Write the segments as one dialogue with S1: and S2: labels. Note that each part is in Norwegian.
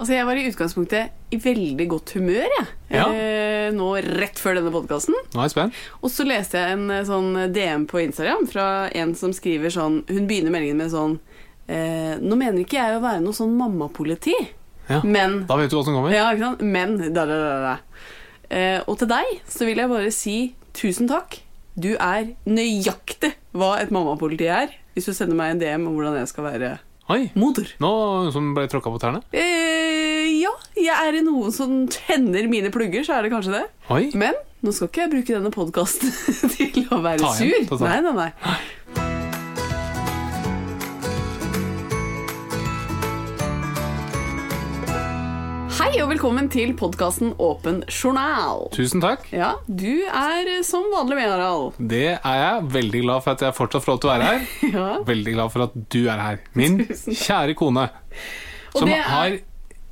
S1: Altså, jeg var i utgangspunktet i veldig godt humør, jeg.
S2: Ja.
S1: Eh, nå rett før denne podkasten.
S2: Nå er jeg spent.
S1: Og så leste jeg en eh, sånn DM på Instagram fra en som skriver sånn Hun begynner meldingen med sånn eh, Nå mener ikke jeg å være noe sånn mammapoliti,
S2: Ja.
S1: men
S2: Da vet du hva som kommer.
S1: Ja, ikke sant? Men da, da, da, da. Eh, Og til deg så vil jeg bare si tusen takk. Du er nøyaktig hva et mammapoliti er, hvis du sender meg en DM om hvordan jeg skal være
S2: Oi.
S1: moder.
S2: Nå som ble tråkka på tærne.
S1: Eh, ja, jeg er i noen som tenner mine plugger, så er det kanskje det.
S2: Oi.
S1: Men nå skal ikke jeg bruke denne podkasten til å være
S2: Ta igjen, ta
S1: sur.
S2: igjen.
S1: Nei, nei, nei. Hei og velkommen til podkasten Åpen journal.
S2: Tusen takk.
S1: Ja, du er eh, som vanlig med, Harald.
S2: Det er jeg. Veldig glad for at jeg fortsatt får lov til å være her.
S1: Ja.
S2: Veldig glad for at du er her. Min
S1: Tusen takk.
S2: kjære kone.
S1: Og
S2: Som
S1: det er-
S2: har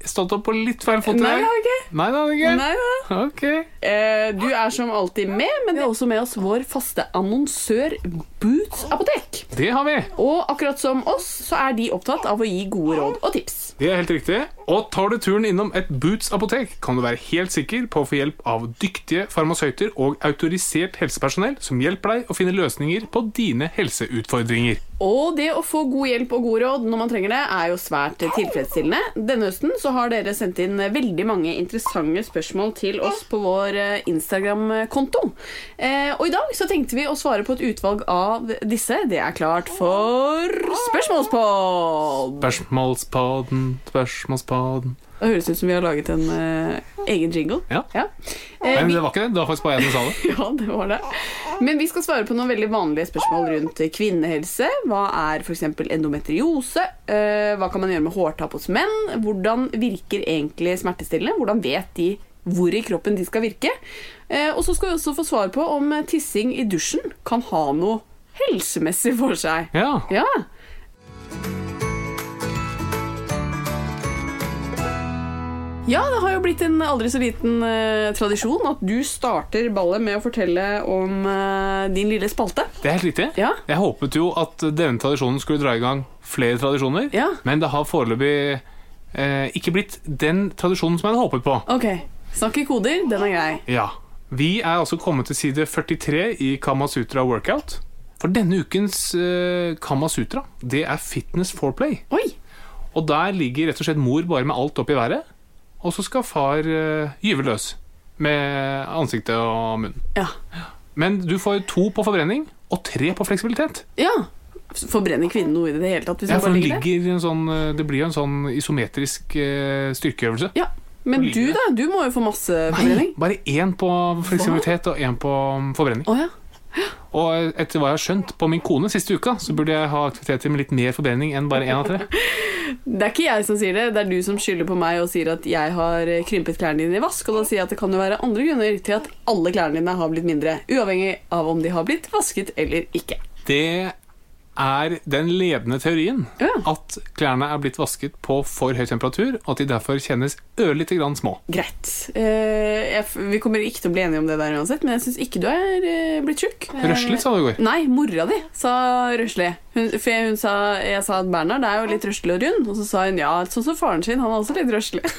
S2: stått opp på litt feil fot i
S1: Nei,
S2: dag.
S1: det har jeg ikke.
S2: Nei, det har jeg ikke.
S1: Nei, nei.
S2: Ok.
S1: Eh, Du er som alltid med, men vi har også med oss vår faste annonsør Boots apotek.
S2: Det har vi.
S1: Og akkurat som oss, så er de opptatt av å gi gode råd og tips.
S2: Det er helt riktig. Og tar du turen innom et Boots apotek, kan du være helt sikker på å få hjelp av dyktige farmasøyter og autorisert helsepersonell som hjelper deg å finne løsninger på dine helseutfordringer.
S1: Og det å få god hjelp og gode råd når man trenger det, er jo svært tilfredsstillende. Denne høsten så har dere sendt inn veldig mange interessante spørsmål til oss på vår eh, Instagram-konto. Eh, Og i dag så tenkte vi å svare på et utvalg av disse. Det er klart for spørsmålspod!
S2: Spørsmålspodden, spørsmålspodden
S1: Det høres ut som vi har laget en eh, egen jingle.
S2: Ja.
S1: Eh,
S2: Men
S1: vi-
S2: det var ikke det. Det var faktisk bare jeg som sa det.
S1: Ja, det var det. Men vi skal svare på noen veldig vanlige spørsmål rundt kvinnehelse. Hva er f.eks. endometriose? Eh, Hva kan man gjøre med hårtap hos menn? Hvordan virker egentlig smertestillende? Hvordan vet de hvor i kroppen de skal virke? Eh, Og så skal vi også få svar på om tissing i dusjen kan ha noe helsemessig for seg.
S2: Ja.
S1: Ja. Ja, det har jo blitt en aldri så liten eh, tradisjon at du starter ballet med å fortelle om eh, din lille spalte.
S2: Det er helt riktig.
S1: Ja.
S2: Jeg håpet jo at denne tradisjonen skulle dra i gang flere tradisjoner,
S1: Ja.
S2: men det har foreløpig eh, ikke blitt den tradisjonen som jeg hadde håpet på.
S1: Ok, snakk i koder, den er grei.
S2: Ja. Vi er altså kommet til side 43 i Kamasutra Workout. For denne ukens eh, Kamasutra, det er fitness foreplay.
S1: Oi!
S2: Og der ligger rett og slett mor bare med alt opp i været, og så skal far eh, gyve løs med ansiktet og munnen.
S1: Ja.
S2: Men du får jo to på forbrenning og tre på fleksibilitet.
S1: ja. Forbrenner kvinnen noe i det hele tatt? Hvis
S2: Ja,
S1: hun
S2: for
S1: bare
S2: det,
S1: ligger der?
S2: ligger en sånn, eh, det blir jo en sånn isometrisk eh, styrkeøvelse.
S1: Ja. Men
S2: Hun
S1: du,
S2: ligger
S1: da? Du må jo få masse forbrenning.
S2: Bare én på fleksibilitet og én på mm, forbrenning.
S1: Å ja.
S2: Og etter hva jeg har skjønt på min kone siste uka, så burde jeg ha aktiviteter med litt mer forbrenning enn bare én av tre.
S1: Det er ikke jeg som sier det, det er du som skylder på meg og sier at jeg har eh, krympet klærne dine i vask, og da sier jeg at det kan jo være andre grunner til at alle klærne dine har blitt mindre, uavhengig av om de har blitt vasket eller ikke.
S2: Det er den ledende teorien
S1: Ja.
S2: at klærne er blitt vasket på for høy temperatur, og at de derfor kjennes ørlite grann små.
S1: Greit. Eh, jeg, f- vi kommer ikke til å bli enige om det der uansett, men jeg syns ikke du er eh, blitt tjukk. Eh,
S2: Røslig, sa du i går.
S1: Nei, mora di sa røslig. Hun, for jeg, hun sa, jeg sa at Bernhard er jo litt røslig og rund, og så sa hun ja, sånn som faren sin, han er også litt røslig.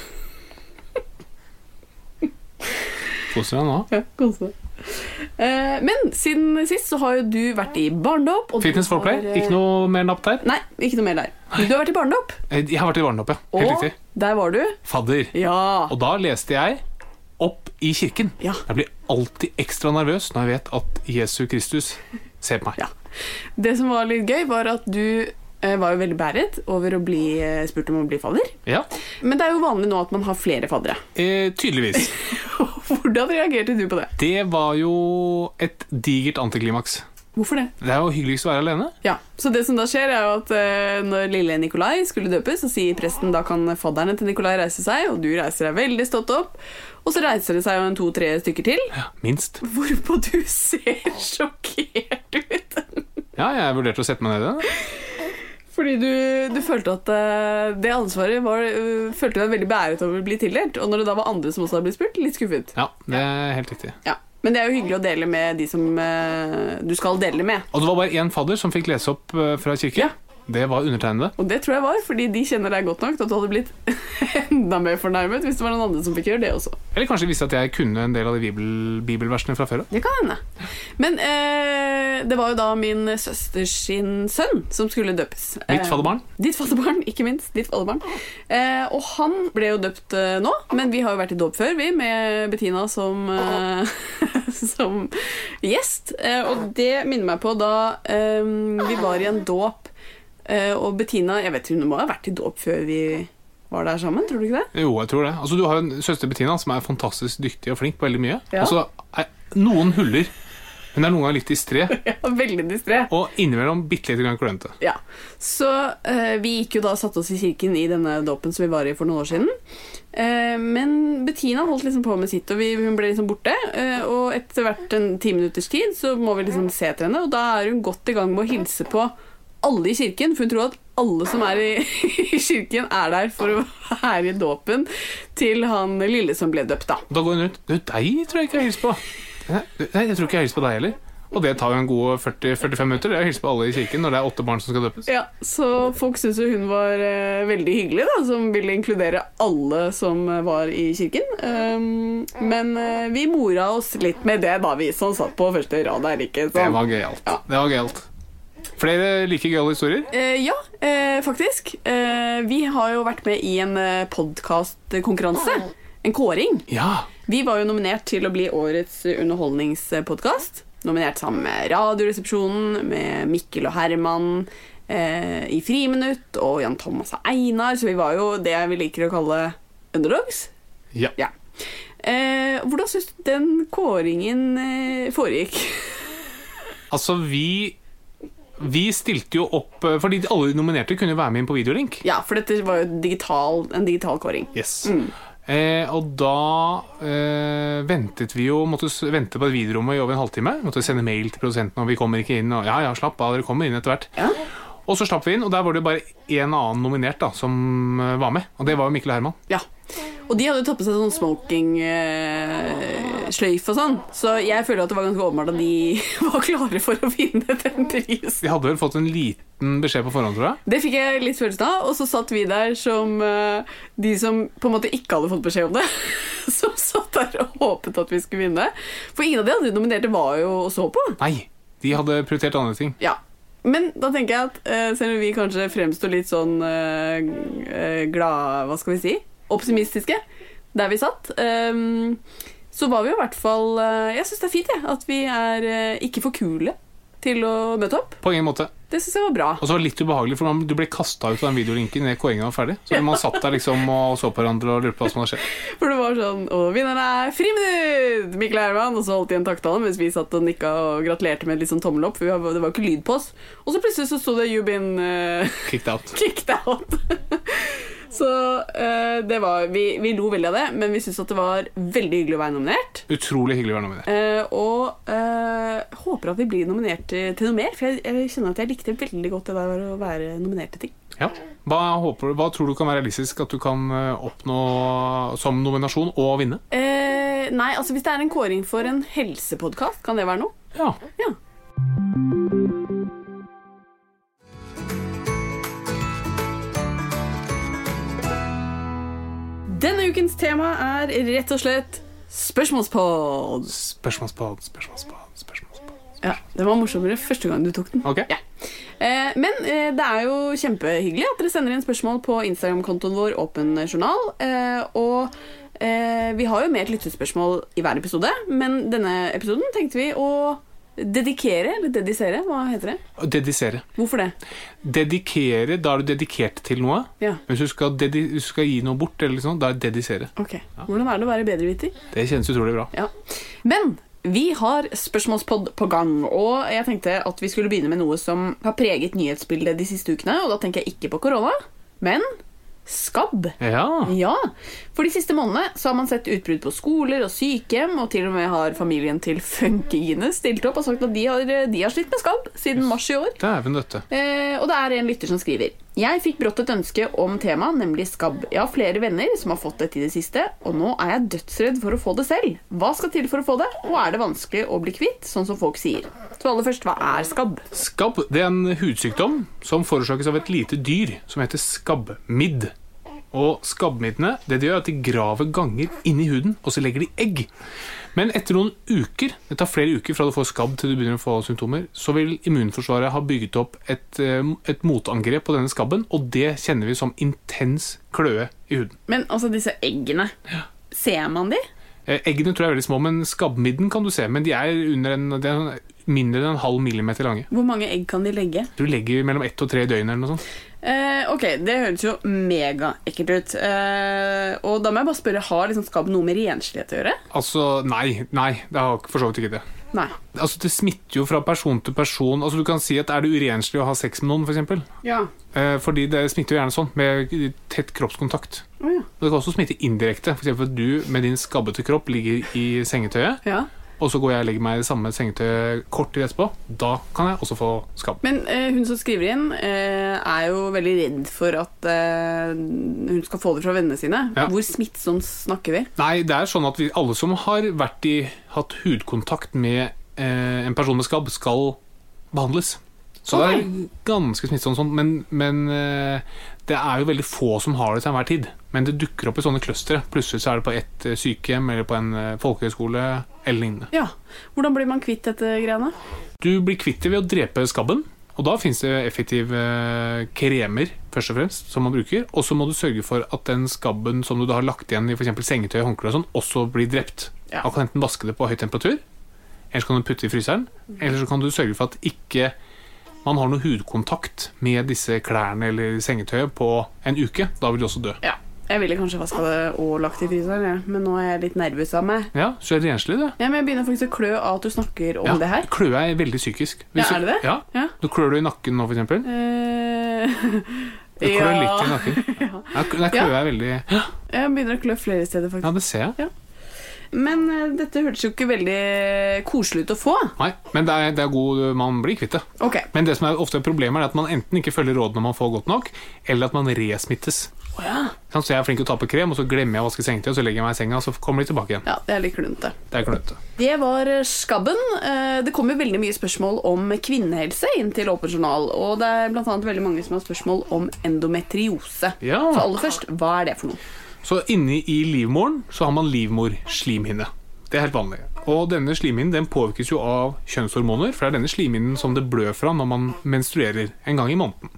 S2: Koser deg nå.
S1: Ja, kose meg. Eh, men siden sist så har jo du vært i barnedåp. og du
S2: Fitness for play,
S1: har, eh,
S2: ikke noe mer napp der.
S1: Nei, ikke noe mer der. Du har vært i barnedåp,
S2: Eh, Jeg har vært i barnedåp, ja. Helt
S1: og
S2: riktig.
S1: der var du.
S2: Fadder.
S1: Ja.
S2: Og da leste jeg opp i kirken.
S1: Ja.
S2: Jeg blir alltid ekstra nervøs når jeg vet at Jesu Kristus ser på meg.
S1: Ja. Det som var litt gøy, var at du eh, var jo veldig bæret over å bli eh, spurt om å bli fadder.
S2: Ja,
S1: Men det er jo vanlig nå at man har flere faddere.
S2: eh, Tydeligvis.
S1: Hvordan reagerte du på det?
S2: Det var jo et digert antiklimaks.
S1: Hvorfor det?
S2: Det er jo hyggeligst å være alene.
S1: Ja, Så det som da skjer, er jo at eh, når lille Nikolai skulle døpes, så sier presten da kan fadderne til Nikolai reise seg, og du reiser deg veldig stått opp. Og så reiser det seg jo en to-tre stykker til,
S2: Minst.
S1: hvorpå du ser sjokkert ut.
S2: Ja, jeg vurderte å sette meg ned i det.
S1: Fordi du, du følte at eh, det ansvaret var, eh, følte du deg veldig beæret over å bli tildelt, og når det da var andre som også hadde blitt spurt, litt skuffet.
S2: Ja, det er helt riktig.
S1: Ja. Men det er jo hyggelig å dele med de som eh, du skal dele med.
S2: Og det var bare én fadder som fikk lese opp eh, fra kirken.
S1: Ja.
S2: Det var undertegnede.
S1: Og det tror jeg var fordi de kjenner deg godt nok til at du hadde blitt enda mer fornærmet hvis det var noen andre som fikk gjøre det også.
S2: Eller kanskje de visste at jeg kunne en del av de bibel bibelversene fra før av.
S1: Det kan hende. Men eh, det var jo da min søsters sin sønn som skulle døpes.
S2: Mitt
S1: Eh,
S2: fadderbarn.
S1: Ditt fadderbarn, ikke minst. Ditt fadderbarn. Eh, og han ble jo døpt eh, nå, men vi har jo vært i dåp før, vi, med Bettina som, eh, som gjest. Eh, og det minner meg på da eh, vi var i en dåp, eh, og Bettina Jeg vet hun må ha vært i dåp før vi var der sammen, tror du ikke det?
S2: Jo, jeg tror det. Altså, du har jo en søster Bettina som er fantastisk dyktig og flink på veldig mye.
S1: Ja.
S2: Og så er noen huller. Hun er noen ganger litt distré
S1: Ja, veldig distré.
S2: og innimellom bitte lite grann klønete.
S1: Ja, Så eh, vi gikk jo da og satte oss i kirken i denne dåpen som vi var i for noen år siden. Eh, men Bettina holdt liksom på med sitt, og vi, hun ble liksom borte. Eh, og etter hvert en ti minutters tid så må vi liksom se etter henne, og da er hun godt i gang med å hilse på alle i kirken, for hun tror at alle som er i, i kirken, er der for å være i dåpen til han lille som ble døpt, da.
S2: Og Da går hun rundt. Du, deg tror jeg ikke jeg hilser på. Nei, nei, jeg tror ikke jeg hilser på deg heller. Og det tar jo en god 40-45 minutter. Det er å hilse på alle i kirken når det er åtte barn som skal døpes.
S1: Ja, Så folk syntes jo hun var eh, veldig hyggelig, da, som ville inkludere alle som eh, var i kirken. Um, men eh, vi mora oss litt med det, da, vi som satt på første rad der. ikke sant?
S2: Det var gøyalt. Det var gøyalt. Flere like gøyale historier?
S1: Eh, ja, eh, faktisk. Eh, vi har jo vært med i en eh, podkastkonkurranse. En kåring.
S2: Ja.
S1: Vi var jo nominert til å bli årets underholdningspodkast. Nominert sammen med Radioresepsjonen, med Mikkel og Herman eh, i Friminutt og Jan Thomas og Einar, så vi var jo det vi liker å kalle underdogs.
S2: Ja.
S1: Ja. Eh, hvordan syns du den kåringen eh, foregikk?
S2: Altså, vi vi stilte jo opp eh, Fordi alle de nominerte kunne jo være med inn på videolink.
S1: Ja, for dette var jo digital, en digital kåring.
S2: Yes. Eh, og da eh, ventet vi jo Måtte s- vente på videorommet i over en halvtime. Måtte sende mail til produsenten og vi kommer ikke inn. Og ja, ja, slapp av, dere kommer inn etter hvert. Og så slapp vi inn, og der var det jo bare en annen nominert da som eh, var med. Og det var jo Mikkel og Herman.
S1: Ja. Og de hadde jo tatt på seg sånn smoking-sløyf og sånn, så jeg føler at det var ganske åpenbart at de var klare for å vinne den prisen.
S2: De hadde vel fått en liten beskjed på forhånd, tror jeg.
S1: Det fikk jeg litt følelsen av, og så satt vi der som eh, de som på en måte ikke hadde fått beskjed om det. Som satt der og håpet at vi skulle vinne. For ingen av de andre nominerte var jo og så på.
S2: Nei, de hadde prioritert andre ting.
S1: Ja. Men da tenker jeg at eh, selv om vi kanskje fremstår litt sånn eh, eh, glad Hva skal vi si? Optimistiske der vi satt. eh, så var vi jo i hvert fall eh, Jeg syns det er fint jeg, at vi er eh, ikke for kule til å møte opp.
S2: På ingen måte.
S1: Det syns jeg var bra.
S2: Og så var det litt ubehagelig, for man, du ble kasta ut av den videolinken idet kåringen var ferdig. Så man satt der liksom og så på hverandre og lurte på hva som hadde skjedd.
S1: For det var sånn Og vinneren er Friminutt! Mikkel Herman. Og så holdt de en takttale mens vi satt og nikka og gratulerte med litt sånn tommel opp, for vi var, det var jo ikke lyd på oss. Og så plutselig så sto det 'You've been eh,
S2: Kicked out.
S1: kicked out'. Så eh, det var Vi, vi lo veldig av det, men vi syntes at det var veldig hyggelig å være nominert.
S2: Utrolig hyggelig å være nominert.
S1: Eh, og eh, håper at vi blir nominert til, til noe mer, for jeg, jeg kjenner at jeg likte veldig godt det der å være nominert til ting.
S2: Ja. Hva, håper, du- hva tror du kan være realistisk at du kan eh, oppnå som nominasjon og vinne?
S1: Eh, nei, altså hvis det er en kåring for en helsepodkast, kan det være noe?
S2: Ja.
S1: Ja. Denne ukens tema er rett og slett spørsmålspod.
S2: Spørsmålspad, spørsmålspad, spørsmålspad.
S1: Ja, Den var morsommere første gang du tok den.
S2: Ok.
S1: Ja. Eh, men eh, det er jo kjempehyggelig at dere sender inn spørsmål på Instagram-kontoen vår Åpen journal. Eh, og eh, vi har jo med et lyttespørsmål i hver episode, men denne episoden tenkte vi å dedikere, eller dedisere, hva heter det?
S2: Dedisere.
S1: Hvorfor det?
S2: Dedikere, da er du dedikert til noe.
S1: Ja.
S2: Hvis du skal, dedi hvis du skal gi noe bort, eller sånn, da er det dedisere.
S1: Ok, Hvordan er det å være bedreviter?
S2: Det kjennes utrolig bra.
S1: Ja. Men vi har spørsmålspod på gang, og jeg tenkte at vi skulle begynne med noe som har preget nyhetsbildet de siste ukene, og da tenker jeg ikke på korona, men skabb.
S2: Ja.
S1: Ja, for de siste månedene så har man sett utbrudd på skoler og sykehjem, og til og med har familien til Funkygine stilt opp og sagt at de har, de har slitt med skabb siden mars i år.
S2: Dæven døtte.
S1: Eh, og det er en lytter som skriver Jeg fikk brått et ønske om tema, nemlig skabb. Jeg har flere venner som har fått dette i det siste, og nå er jeg dødsredd for å få det selv. Hva skal til for å få det, og er det vanskelig å bli kvitt, sånn som folk sier? Så aller først, hva er skabb?
S2: Skabb det er en hudsykdom som forårsakes av et lite dyr som heter skabbmidd. Og skabbmiddene det de gjør er at de graver ganger inn i huden, og så legger de egg. Men etter noen uker, det tar flere uker fra du får skabb til du begynner å få symptomer, så vil immunforsvaret ha bygget opp et, eh, et motangrep på denne skabben, og det kjenner vi som intens kløe i huden.
S1: Men altså, disse eggene. Ser man de?
S2: Eh, Eggene tror jeg er veldig små, men skabbmidden kan du se. Men de er, under en, de er mindre enn en halv millimeter lange.
S1: Hvor mange egg kan de legge?
S2: Du legger mellom ett og tre døgn eller noe sånt.
S1: Eh, ok, det høres jo megaekkelt ut. Eh, og da må jeg bare spørre, har liksom skabb noe med renslighet å gjøre?
S2: Altså, nei, nei, det har for så vidt ikke det.
S1: Nei.
S2: Altså, Det smitter jo fra person til person. Altså, Du kan si at er det urenslig å ha sex med noen, f.eks. For eksempel?
S1: Ja.
S2: eh, fordi det smitter jo gjerne sånn, med tett kroppskontakt.
S1: Å ja.
S2: Og Det kan også smitte indirekte. F.eks. at du med din skabbete kropp ligger i sengetøyet,
S1: ja.
S2: og så går jeg og legger meg i det samme sengetøyet kort tid etterpå. Da kan jeg også få skabb.
S1: Men eh, hun som skriver inn, eh, er jo veldig redd for at eh, hun skal få det fra vennene sine.
S2: Ja.
S1: Hvor smittsomt snakker vi?
S2: Nei, det er sånn at vi, alle som har vært i, hatt hudkontakt med eh, en person med skabb, skal behandles. Så det er ganske smittsomt, sånn, men, men eh, det er jo veldig få som har det til enhver tid. Men det dukker opp i sånne clustre. Plutselig så er det på ett eh, sykehjem eller på en eh, folkehøyskole eller lignende.
S1: Ja, Hvordan blir man kvitt dette greiene?
S2: Du blir kvitt det ved å drepe skabben. Og da fins det effektive eh, kremer først og fremst som man bruker. Og så må du sørge for at den skabben som du da har lagt igjen i for eksempel sengetøy, håndkle og sånn, også blir drept.
S1: Ja.
S2: Da kan du enten vaske det på høy temperatur, eller så kan du putte det i fryseren. Eller så kan du sørge for at ikke man har noe hudkontakt med disse klærne eller sengetøyet på en uke. Da vil du også dø.
S1: Ja, Jeg ville kanskje vaska det og lagt det i fryseren, jeg, men nå er jeg litt nervøs av meg.
S2: Ja, så er det renslig, det.
S1: Ja, men Jeg begynner faktisk å klø av at du snakker om
S2: Ja,
S1: det her.
S2: Kløe er veldig psykisk.
S1: Ja,
S2: du-
S1: er det det?
S2: Ja.
S1: Ja.
S2: Du klør du i nakken nå, for eksempel?
S1: Eh,
S2: Du klør
S1: ja.
S2: litt i nakken. Ja, nei, kløe er veldig
S1: Jeg begynner å klø flere steder,
S2: Ja,
S1: faktisk.
S2: det ser jeg.
S1: Men eh, dette hørtes jo ikke veldig koselig ut å få.
S2: Nei, men det er, det er god man blir kvitt det.
S1: Ok,
S2: Men det som er ofte er problemet, er at man enten ikke følger rådene man får godt nok, eller at man resmittes.
S1: Å ja.
S2: Sånn, Så jeg er flink til å ta på krem, og så glemmer jeg å vaske sengetøy, og så legger jeg meg i senga, og så kommer de tilbake igjen.
S1: ja, det er litt klønete.
S2: Det er klønete.
S1: Det var skabben. Eh, Det kommer veldig mye spørsmål om kvinnehelse inn til Åpen journal. Og det er blant annet veldig mange som har spørsmål om endometriose.
S2: Ja.
S1: Så aller først, hva er det for noe?
S2: Så inni i livmoren så har man livmorslimhinne. Det er helt vanlig. Og denne slimhinnen den påvirkes jo av kjønnshormoner, for det er denne slimhinnen som det blør fra når man menstruerer en gang i måneden.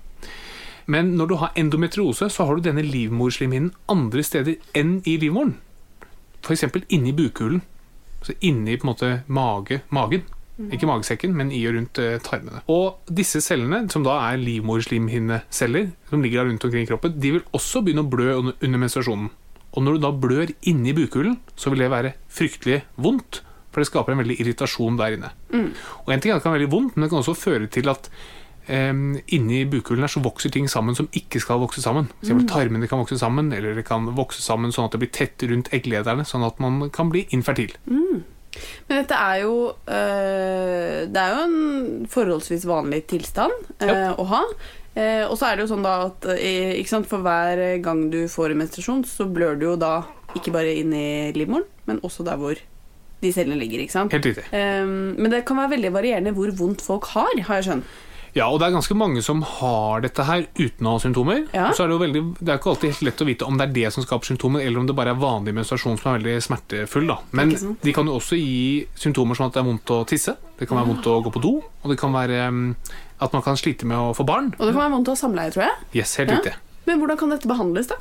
S2: Men når du har endometriose, så har du denne livmorslimhinnen andre steder enn i livmoren. F.eks. inni bukhulen. Altså inni på en måte mage, magen. Ikke magesekken, men i og rundt eh, tarmene. Og disse cellene, som da er livmorslimhinneceller, som ligger der rundt omkring i kroppen, de vil også begynne å blø under, under menstruasjonen. Og når du da blør inni bukhulen, så vil det være fryktelig vondt, for det skaper en veldig irritasjon der inne. Og en ting er at det kan være veldig vondt, men det kan også føre til at em, inni bukhulen her så vokser ting sammen som ikke skal vokse sammen. For eksempel
S1: Mm.
S2: tarmene kan vokse sammen, eller det kan vokse sammen sånn at det blir tett rundt egglederne, sånn at man kan bli infertil.
S1: Mm. Men dette er jo øh, Det er jo en forholdsvis vanlig tilstand øh,
S2: Ja.
S1: å ha. Eh, og så er det jo sånn da at eh, ikke sant, for hver gang du får en menstruasjon, så blør du jo da ikke bare inn i livmoren, men også der hvor de cellene ligger. ikke sant?
S2: Helt riktig.
S1: Eh, men det kan være veldig varierende hvor vondt folk har, har jeg skjønt.
S2: Ja, og det er ganske mange som har dette her uten å ha symptomer.
S1: Ja.
S2: Og Så er det jo veldig, det er ikke alltid helt lett å vite om det er det som skaper symptomer, eller om det bare er vanlig menstruasjon som er veldig smertefull. da. Men
S1: Ikke sant.
S2: de kan jo også gi symptomer som at det er vondt å tisse, det kan være vondt å gå på do, og det kan være um, at man kan slite med å få barn.
S1: Og det kan være vondt å ha samleie, tror jeg.
S2: Yes, helt
S1: Ja.
S2: riktig.
S1: Men hvordan kan dette behandles, da?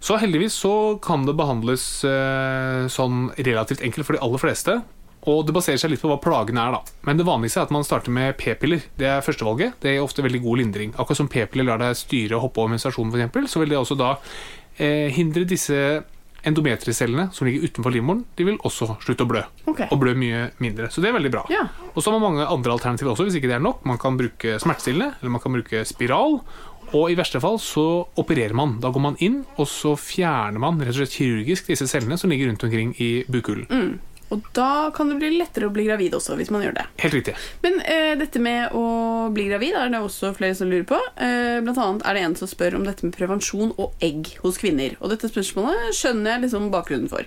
S2: Så heldigvis så kan det behandles eh, sånn relativt enkelt for de aller fleste. Og det baserer seg litt på hva plagene er, da. Men det vanligste er at man starter med p-piller. Det er førstevalget. Det gir ofte veldig god lindring. Akkurat som p-piller lar deg styre og hoppe over menstruasjonen, for eksempel, så vil det også da eh, hindre disse endometricellene som ligger utenfor livmoren, de vil også slutte å blø.
S1: Ok.
S2: Og blø mye mindre. Så det er veldig bra.
S1: Ja.
S2: Og så har man mange andre alternativer også, hvis ikke det er nok. Man kan bruke smertestillende, eller man kan bruke spiral. Og i verste fall så opererer man. Da går man inn, og så fjerner man rett og slett kirurgisk disse cellene som ligger rundt omkring i bukhulen.
S1: Mm. Og da kan det bli lettere å bli gravid også, hvis man gjør det.
S2: Helt riktig.
S1: Men eh, dette med å bli gravid er det også flere som lurer på. Eh, blant annet er det en som spør om dette med prevensjon og egg hos kvinner. Og dette spørsmålet skjønner jeg liksom bakgrunnen for.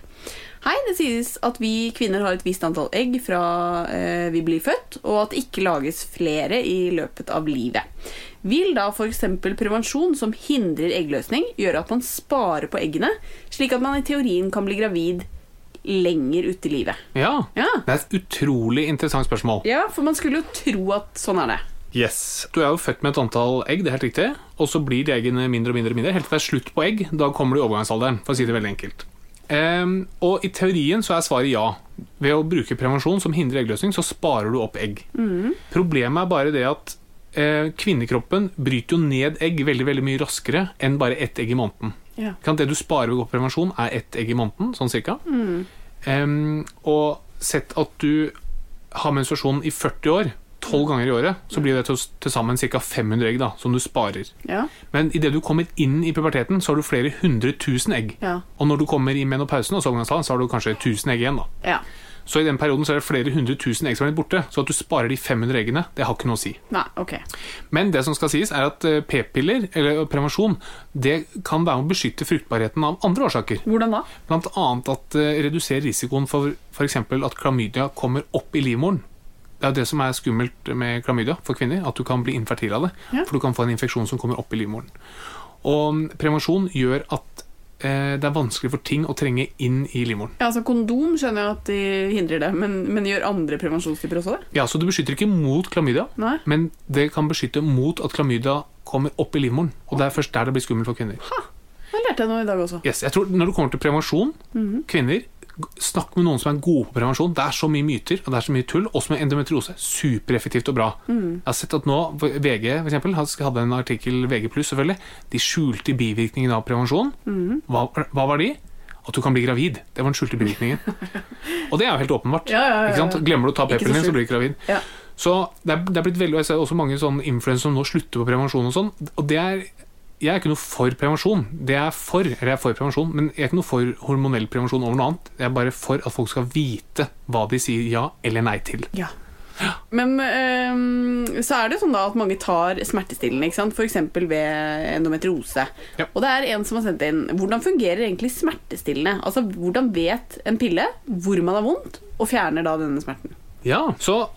S1: Hei, det sies at vi kvinner har et visst antall egg fra eh, vi blir født, og at det ikke lages flere i løpet av livet. Vil da f.eks. prevensjon som hindrer eggløsning, gjøre at man sparer på eggene, slik at man i teorien kan bli gravid lenger ute i livet?
S2: Ja.
S1: Ja.
S2: Det er et utrolig interessant spørsmål.
S1: Ja, for man skulle jo tro at sånn er det.
S2: Yes. Du er jo født med et antall egg, det er helt riktig, og så blir de eggene mindre og mindre, og mindre helt til det er slutt på egg. Da kommer du i overgangsalderen, for å si det veldig enkelt. Ehm, og i teorien så er svaret ja. Ved å bruke prevensjon som hindrer eggløsning, så sparer du opp egg. Problemet er bare det at eh, kvinnekroppen bryter jo ned egg veldig, veldig mye raskere enn bare ett egg i måneden.
S1: Ja.
S2: Ikke sant? Det du sparer ved å gå på prevensjon, er ett egg i måneden, sånn cirka. Ehm, og sett at du har menstruasjon i 40 år,
S1: Mm.
S2: 12 ganger i året, så blir det til, til sammen ca. 500 egg da, som du sparer.
S1: Ja.
S2: Men idet du kommer inn i puberteten, så har du flere hundre tusen egg.
S1: Ja.
S2: Og når du kommer i menopausen, og så overgangsalderen, så har du kanskje 1000 egg igjen. da.
S1: Ja.
S2: Så i den perioden så er det flere hundre tusen egg som er blitt borte. Så at du sparer de 500 eggene, det har ikke noe å si.
S1: Nei, ok.
S2: Men det som skal sies er at eh, p-piller, eller prevensjon, det kan være med å beskytte fruktbarheten av andre årsaker.
S1: Hvordan da?
S2: Blant annet at det reduserer risikoen for f.eks. at klamydia kommer opp i livmoren. Det er det som er skummelt med klamydia for kvinner, at du kan bli infertil av det.
S1: Ja.
S2: For du kan få en infeksjon som kommer opp i livmoren. Og mm, prevensjon gjør at eh, det er vanskelig for ting å trenge inn i livmoren.
S1: Ja, altså Kondom skjønner jeg at de hindrer det, men, men gjør andre prevensjonstyper også det?
S2: Ja, Så du beskytter ikke mot klamydia,
S1: Nei.
S2: men det kan beskytte mot at klamydia kommer opp i livmoren. Og det er først der det blir skummelt for kvinner.
S1: Ah, Det lærte jeg noe i dag også.
S2: Yes, jeg tror Når det kommer til prevensjon,
S1: Mhm.
S2: kvinner g- Snakk med noen som er gode på prevensjon. Det er så mye myter og det er så mye tull. Også med endometriose. Supereffektivt og bra.
S1: Mm.
S2: Jeg har sett at nå v- VG for eksempel, had- hadde en artikkel VG+, selvfølgelig. De skjulte bivirkningene av prevensjon.
S1: Mhm.
S2: Hva, hva var de? At du kan bli gravid. Det var den skjulte bivirkningen. og det er jo helt åpenbart.
S1: Ja, ja, ja,
S2: Ikke sant?
S1: ja.
S2: Glemmer du å ta
S1: Ikke så
S2: p-pillen din, så
S1: skjult.
S2: blir du gravid.
S1: Ja.
S2: Så det er, det er blitt veldig, og Jeg ser også mange sånn influensere som nå slutter på prevensjon. og sånn, og det er, Jeg er ikke noe for prevensjon, Det er for, eller jeg er for prevensjon, men jeg er ikke noe for hormonell prevensjon over noe annet. Jeg er bare for at folk skal vite hva de sier ja eller nei til.
S1: Ja. Men ehm, så er det sånn da at mange tar smertestillende, ikke sant? f.eks. ved endometriose.
S2: Ja.
S1: Og det er en som har sendt inn Hvordan fungerer egentlig smertestillende? Altså, Hvordan vet en pille hvor man har vondt, og fjerner da denne smerten?
S2: Ja, så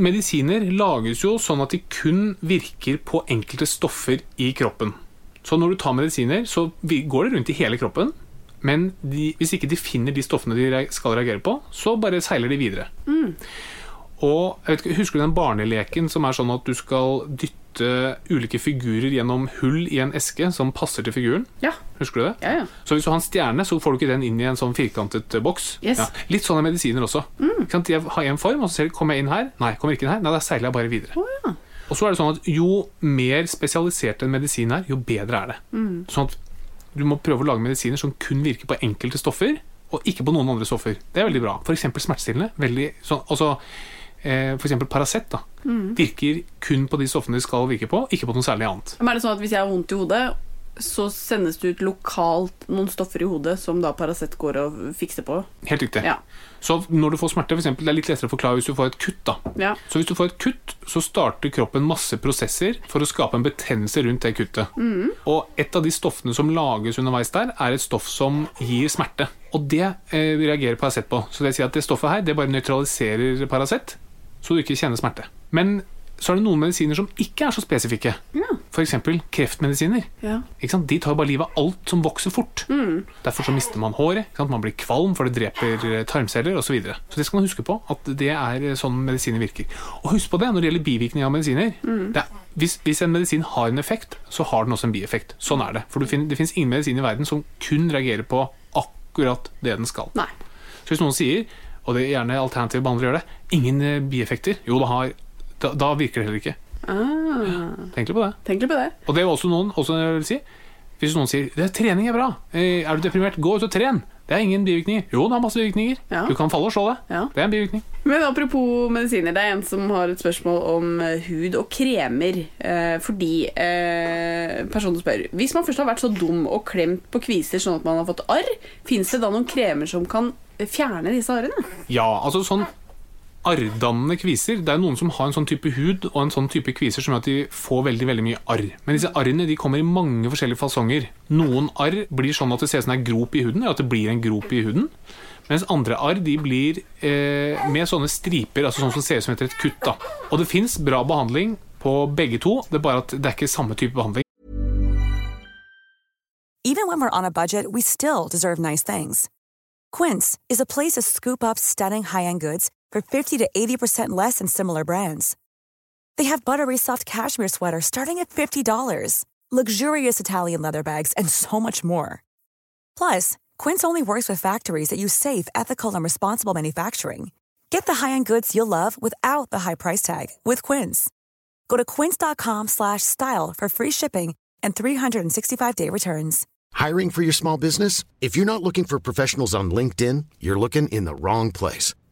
S2: medisiner lages jo sånn at de kun virker på enkelte stoffer i kroppen. Så når du tar medisiner, så vi- går det rundt i hele kroppen. Men de, hvis ikke de finner de stoffene de re- skal reagere på, så bare seiler de videre.
S1: Mm.
S2: Og jeg vet ikke, Husker du den barneleken som er sånn at du skal dytte ulike figurer gjennom hull i en eske som passer til figuren?
S1: Ja.
S2: Husker du det?
S1: Ja, ja.
S2: Så hvis du har en stjerne, så får du ikke den inn i en sånn firkantet eh, boks.
S1: Yes. Mm.
S2: Ja. Litt sånn er medisiner også. Ikke sant? Jeg har en form, og så ser jeg, kommer jeg inn her. Nei, kommer ikke inn her. Nei, da seiler jeg bare videre. Og så er det sånn at jo mer spesialisert en medisin er, jo bedre er det.
S1: Mm.
S2: Sånn at du må prøve å lage medisiner som kun virker på enkelte stoffer, og ikke på noen andre stoffer. Det er veldig bra. For eksempel smertestillende. Veldig sånn Altså eh, f.eks. Paracet, da,
S1: Mm.
S2: virker kun på de stoffene de skal virke på, ikke på noe særlig annet.
S1: Men er det sånn at hvis jeg har vondt i hodet, så sendes det ut lokalt noen stoffer i hodet som da Paracet går og fikser på?
S2: Helt riktig.
S1: Ja.
S2: Så når du får smerte, for eksempel, det er litt lettere å forklare hvis du får et kutt. da.
S1: Ja.
S2: Så hvis du får et kutt, så starter kroppen masse prosesser for å skape en betennelse rundt det kuttet.
S1: Mm.
S2: Og et av de stoffene som lages underveis der, er et stoff som gir smerte. Og det eh, reagerer Paracet på. Så det sier at det stoffet her, det bare nøytraliserer Paracet, så du ikke kjenner smerte. Men så er det noen medisiner som ikke er så spesifikke. For eksempel kreftmedisiner.
S1: Ja.
S2: Ikke sant? De tar jo bare livet av alt som vokser fort.
S1: Mm.
S2: Derfor så mister man håret, ikke sant? man blir kvalm, for det dreper eh, tarmceller osv. Så, videre. så det skal man huske på, at det er eh, sånn medisiner virker. Og husk på det når det gjelder bivirkninger av medisiner.
S1: Mm.
S2: Det er, hvis, hvis en medisin har en effekt, så har den også en bieffekt. Sånn er det. For du finner, det finnes ingen medisin i verden som kun reagerer på akkurat det den skal.
S1: Nei.
S2: Så hvis noen sier, og det er gjerne alternative behandlere gjør det, ingen eh, bieffekter, jo, da, har, da, da virker det heller ikke.
S1: Ah,
S2: Tenk litt på det.
S1: tenk litt på det.
S2: Og det er jo også noen også jeg vil si, Hvis noen sier det, 'trening er bra', eh, er du deprimert, gå ut og tren. Det er ingen bivirkninger. Jo, det har masse bivirkninger.
S1: Ja.
S2: Du kan falle og slå deg.
S1: Ja.
S2: Det er en bivirkning.
S1: Men apropos medisiner, det er en som har et spørsmål om eh, hud og kremer. Eh, fordi eh, personen spør Hvis man først har vært så dum og klemt på kviser sånn at man har fått arr, fins det da noen kremer som kan eh, fjerne disse arrene?
S2: Ja, altså sånn arrdannende kviser. Det er noen som har en sånn type hud og en sånn type kviser som gjør at de får veldig veldig mye arr. Men disse arrene de kommer i mange forskjellige fasonger. Noen arr blir sånn at det ser ut som det er grop i huden, eller at det blir en grop i huden. Mens andre arr de blir eh, med sånne striper, altså sånn som ser ut som etter et kutt. da. Og det fins bra behandling på begge to, det er bare at det er ikke samme type behandling.
S3: Even when we're on a budget, we still deserve nice things. Quince is a place to scoop up stunning high-end goods for 50 to 80% less than similar brands. They have buttery soft cashmere sweaters starting at $50, luxurious Italian leather bags, and so much more. Plus, Quince only works with factories that use safe, ethical, and responsible manufacturing. Get the high-end goods you'll love without the high price tag with Quince. Go to quince.com/style slash style for free shipping and 365-day returns.
S4: Hiring for your small business? If you're not looking for professionals on LinkedIn, you're looking in the wrong place.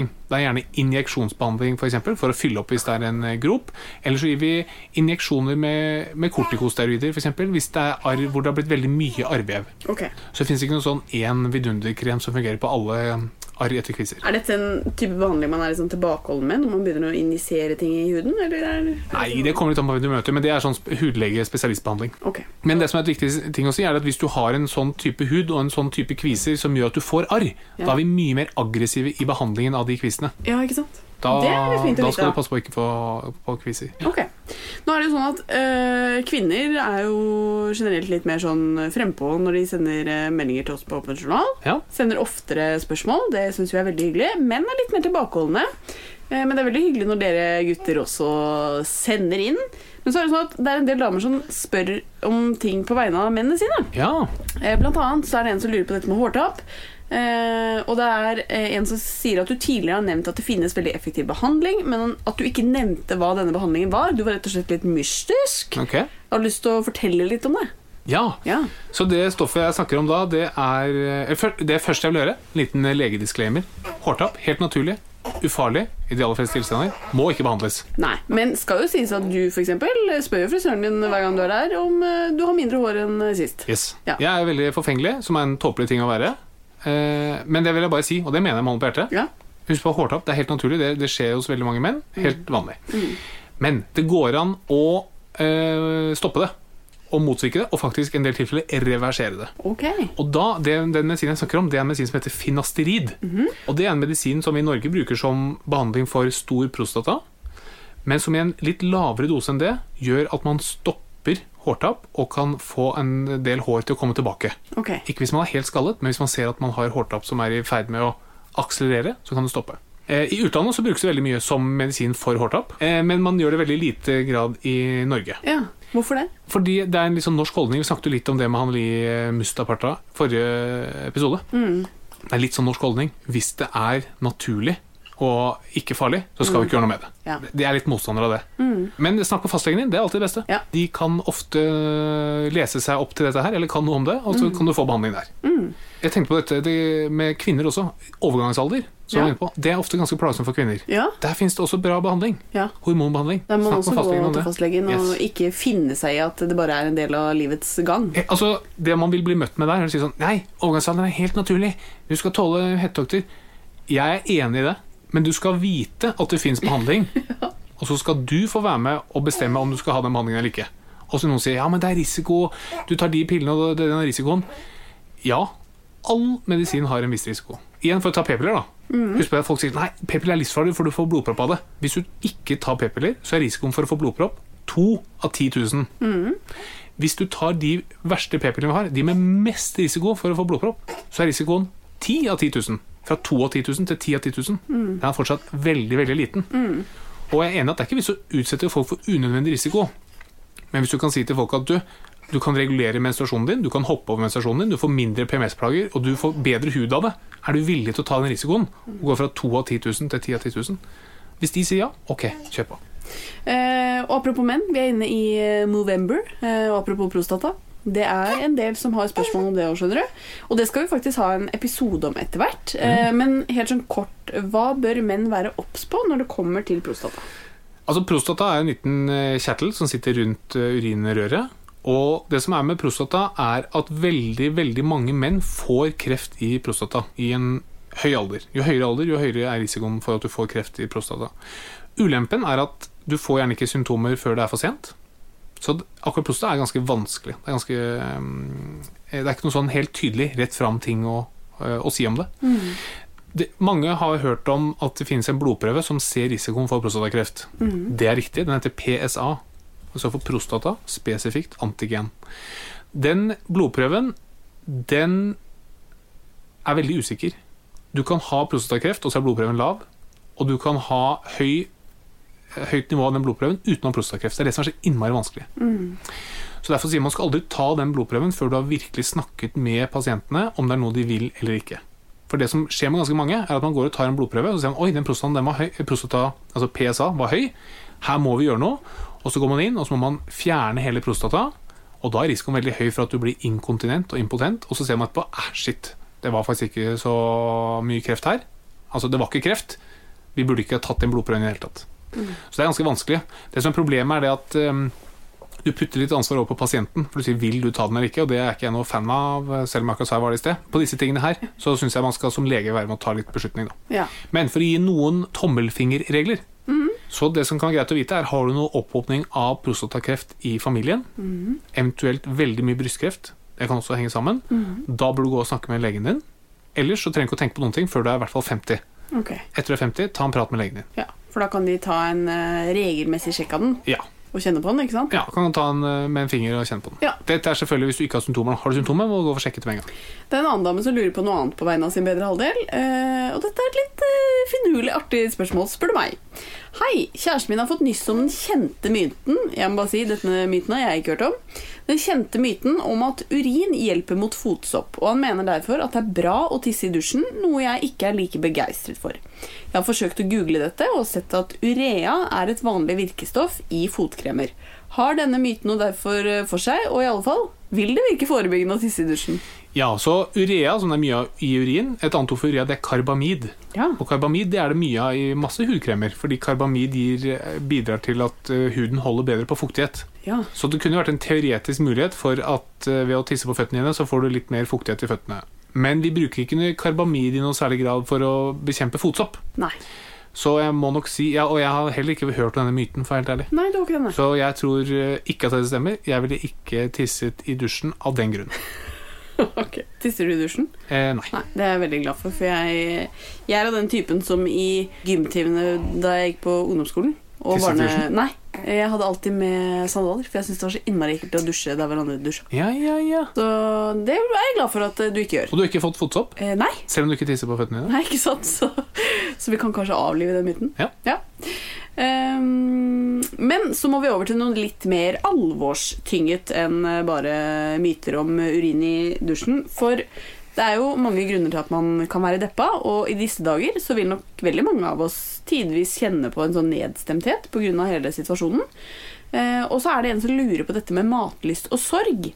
S2: Det er gjerne injeksjonsbehandling for, eksempel, for å fylle opp hvis det er en eh, grop. Eller så gir vi injeksjoner med, med kortikosteroider for eksempel, hvis det er arr hvor det har blitt veldig mye arrvev.
S1: Ok.
S2: Så det fins ikke noen sånn én vidunderkrem som fungerer på alle eh, arr etter kviser.
S1: Er dette en type behandling man er liksom tilbakeholden med når man begynner å injisere ting i huden? Eller er det...
S2: Nei, det kommer litt an på hvem du møter, men det er sånn sp- hudlege-spesialistbehandling.
S1: Ok.
S2: Men det som er et viktig ting å si er at hvis du har en sånn type hud og en sånn type kviser som gjør at du får arr, da er vi mye mer aggressive i behandlingen av de kvisene.
S1: Ja, ikke sant?
S2: Da,
S1: det er litt fint å
S2: da
S1: vite.
S2: skal du passe på å ikke få på kviser.
S1: Ok. Nå er det jo sånn at eh, kvinner er jo generelt litt mer sånn frempå når de sender eh, meldinger til oss på Åpen journal.
S2: Ja.
S1: Sender oftere spørsmål, det syns vi er veldig hyggelig. Menn er litt mer tilbakeholdne. Eh, men det er veldig hyggelig når dere gutter også sender inn. Men så er det sånn at det er en del damer som spør om ting på vegne av mennene sine.
S2: Ja.
S1: Eh, Blant annet så er det en som lurer på dette med hårtap. Eh, og det er eh, en som sier at du tidligere har nevnt at det finnes veldig effektiv behandling, men at du ikke nevnte hva denne behandlingen var. Du var rett og slett litt mystisk.
S2: Ok.
S1: Jeg har lyst til å fortelle litt om det.
S2: Ja.
S1: Ja.
S2: Så det stoffet jeg snakker om da, det er eh, før- Det første jeg vil gjøre, en liten eh, legedisclaimer. Hårtapp, helt naturlig. Ufarlig i de aller fleste tilstander. Må ikke behandles.
S1: Nei, Men skal jo sies at du for eksempel, spør jo frisøren din hver gang du er der, om eh, du har mindre hår enn eh, sist.
S2: Yes.
S1: Ja.
S2: Jeg er veldig forfengelig, som er en tåpelig ting å være. Eh, men det vil jeg bare si, og det mener jeg med hånden på hjertet.
S1: Ja. Mm.
S2: Husk på hårtapp, det er helt naturlig. Det, det skjer hos veldig mange menn. Helt vanlig. Men det går an å eh, stoppe det. Og motvirke det, og faktisk i en del tilfeller reversere det.
S1: Ok.
S2: Og da, det, Den medisinen jeg snakker om, det er en medisin som heter finasterid. Og Det er en medisin som vi i Norge bruker som behandling for stor prostata. men som i en litt lavere dose enn det gjør at man stopper hårtap og kan få en del hår til å komme tilbake.
S1: Ok.
S2: Ikke hvis man er helt skallet, men hvis man ser at man har hårtap som er i ferd med å akselerere, så kan det stoppe. Eh, I utlandet så brukes det veldig mye som medisin for hårtap, eh, men man gjør det veldig lite grad i Norge.
S1: Ja. Hvorfor det?
S2: Fordi det er en litt sånn norsk holdning. Vi snakket jo litt om det med han Li Mustaparta forrige episode.
S1: Mm.
S2: Det er litt sånn norsk holdning. Hvis det er naturlig og ikke farlig, så skal vi ikke gjøre noe med det.
S1: Mm. Ja. Mm.
S2: De er litt motstandere av det. Men snakk med fastlegen din, det er alltid det beste.
S1: Ja.
S2: De kan ofte eh, lese seg opp til dette her, eller kan noe om det, og så
S1: Mm.
S2: kan du få behandling der. Jeg tenkte på dette det med kvinner også. Overgangsalder, som
S1: Ja.
S2: vi er inne på. Det er ofte ganske plagsomt for kvinner.
S1: Ja.
S2: Der fins det også bra behandling.
S1: Ja.
S2: Hormonbehandling.
S1: Da må man også
S2: Snakk med fastlegen
S1: gå
S2: om
S1: til
S2: det.
S1: fastlegen og
S2: Yes.
S1: ikke finne seg i at det bare er en del av livets gang.
S2: Eh, Altså, Det man vil bli møtt med der, er å si sånn Nei, overgangsalderen er helt naturlig. Du skal tåle hettetokter. Jeg er enig i det, men du skal vite at det fins behandling. Og så skal du få være med og bestemme om du skal ha den behandlingen eller ikke. Og så noen sier ja, men det er risiko, du tar de pillene og det er den risikoen. Ja, all medisin har en viss risiko. Igjen for å ta p-piller, da. Husk på at folk sier nei, p-piller er livsfarlig, for du får blodpropp av det. Hvis du ikke tar p-piller, så er risikoen for å få blodpropp to av 10 000. Hvis du tar de verste p-pillene vi har, de med mest risiko for å få blodpropp, så er risikoen 10 av 10 000. Fra 2 av 10 000 til 10 av 10 000. Den er fortsatt veldig, veldig liten. Og jeg er enig at det er ikke vits å utsette folk for unødvendig risiko. Men hvis du kan si til folk at du, du kan regulere menstruasjonen din, du kan hoppe over menstruasjonen din, du får mindre PMS-plager, og du får bedre hud av det, er du villig til å ta den risikoen? Og gå fra 2 av 10 000 til 10 av 10 000? Hvis de sier ja, ok, kjør på.
S1: Eh, og apropos menn, vi er inne i eh, Movember. Eh, og apropos prostata. Det er en del som har spørsmål om det òg, skjønner du. Og det skal vi faktisk ha en episode om etter hvert. Eh, men helt sånn kort, hva bør menn være obs på når det kommer til prostata?
S2: Altså Prostata er en liten eh, kjertel som sitter rundt eh, urinrøret. Og det som er med prostata, er at veldig veldig mange menn får kreft i prostata i en høy alder. Jo høyere alder, jo høyere er risikoen for at du får kreft i prostata. Ulempen er at du får gjerne ikke symptomer før det er for sent. Så d- akkurat prostata er ganske vanskelig. Det er, ganske, ehm, eh, det er ikke noe sånn helt tydelig rett fram-ting å, eh, å si om det. det. Mange har hørt om at det finnes en blodprøve som ser risikoen for prostatakreft. Det er riktig. Den heter PSA. Og så for prostata spesifikt antigen. Den blodprøven, den er veldig usikker. Du kan ha prostatakreft, og så er blodprøven lav. Og du kan ha høy, høyt nivå av den blodprøven uten å ha prostatakreft. Det er det som er så innmari vanskelig. Så derfor sier man skal aldri ta den blodprøven før du har virkelig snakket med pasientene om det er noe de vil eller ikke. For det som skjer med ganske mange, er at man går og tar en blodprøve, og så ser man oi, den prostataen den var høy, prostata, altså PSA var høy, her må vi gjøre noe. Og så går man inn, og så må man fjerne hele prostata, og da er risikoen veldig høy for at du blir inkontinent og impotent, og så ser man etterpå æh, shit, det var faktisk ikke så mye kreft her. Altså, det var ikke kreft. Vi burde ikke ha tatt den blodprøven i det hele tatt. Så det er ganske vanskelig. Det som er problemet, er det at ehm, du putter litt ansvar over på pasienten, for du sier 'vil du ta den eller ikke', og det er ikke jeg noe fan av, selv om jeg akkurat sa jeg var det i sted. På disse tingene her så syns jeg man skal som lege være med å ta litt beslutning, da.
S1: Ja.
S2: Men for å gi noen tommelfingerregler Så det som kan være greit å vite, er har du noe opphopning av prostatakreft i familien, eventuelt veldig mye brystkreft, det kan også henge sammen, da bør du gå og snakke med legen din. Ellers så trenger du ikke å tenke på noen ting før du er i hvert fall 50.
S1: Ok.
S2: Etter du er 50, ta en prat med legen din.
S1: Ja, For da kan de ta en eh, regelmessig sjekk av den
S2: Ja.
S1: og kjenne på den, ikke sant?
S2: Ja, kan du ta den eh, med en finger og kjenne på den.
S1: Ja.
S2: Dette er selvfølgelig hvis du ikke har symptomer. Har du symptomer, må du gå og sjekke til med en gang.
S1: Det er en annen dame som lurer på noe annet på vegne av sin bedre halvdel. eh, og dette er et litt eh, finurlig artig spørsmål, spør du meg. Hei, kjæresten min har fått nyss om den kjente myten Jeg må bare si, denne myten har jeg ikke hørt om. Den kjente myten om at urin hjelper mot fotsopp, og han mener derfor at det er bra å tisse i dusjen, noe jeg ikke er like begeistret for. Jeg har forsøkt å google dette og sett at urea er et vanlig virkestoff i fotkremer. Har denne myten noe derfor eh, for seg, og i alle fall vil det virke forebyggende å tisse i dusjen?
S2: Ja, så urea, som det er mye av i urin, et annet ord for urea, det er karbamid.
S1: Ja.
S2: Og karbamid det er det mye av i masse hudkremer, fordi karbamid gir, bidrar til at eh, huden holder bedre på fuktighet.
S1: Ja.
S2: Så det kunne vært en teoretisk mulighet for at eh, ved å tisse på føttene dine, så får du litt mer fuktighet i føttene. Men vi bruker ikke noe karbamid i noen særlig grad for å bekjempe fotsopp.
S1: Nei.
S2: Så jeg må nok si, ja, og jeg har heller ikke hørt om denne myten, for å være helt ærlig.
S1: Nei, det var ikke denne.
S2: Så jeg tror eh, ikke at det stemmer. Jeg ville ikke tisset i dusjen av den grunn.
S1: Ok. Tisser du i dusjen?
S2: Eh, nei.
S1: Nei, det er jeg veldig glad for, for jeg, jeg er av den typen som i gymtimene da jeg gikk på ungdomsskolen Og
S2: Tisset i
S1: barne...
S2: dusjen?
S1: Nei, jeg hadde alltid med sandaler, for jeg syntes det var så innmari ekkelt å dusje der hverandre dusja.
S2: Ja, ja, ja.
S1: Så det er jeg glad for at eh, du ikke gjør.
S2: Og du har ikke fått fotsopp?
S1: Eh, nei.
S2: Selv om du ikke tisser på føttene dine?
S1: Nei, ikke sant? Så, så vi kan kanskje avlive den myten.
S2: Ja.
S1: Ehm, men så må vi over til noe litt mer alvorstynget enn eh, bare myter om eh, urin i dusjen. For det er jo mange grunner til at man kan være deppa, og i disse dager så vil nok veldig mange av oss tidvis kjenne på en sånn nedstemthet pga. hele situasjonen. Eh, og så er det en som lurer på dette med matlyst og sorg.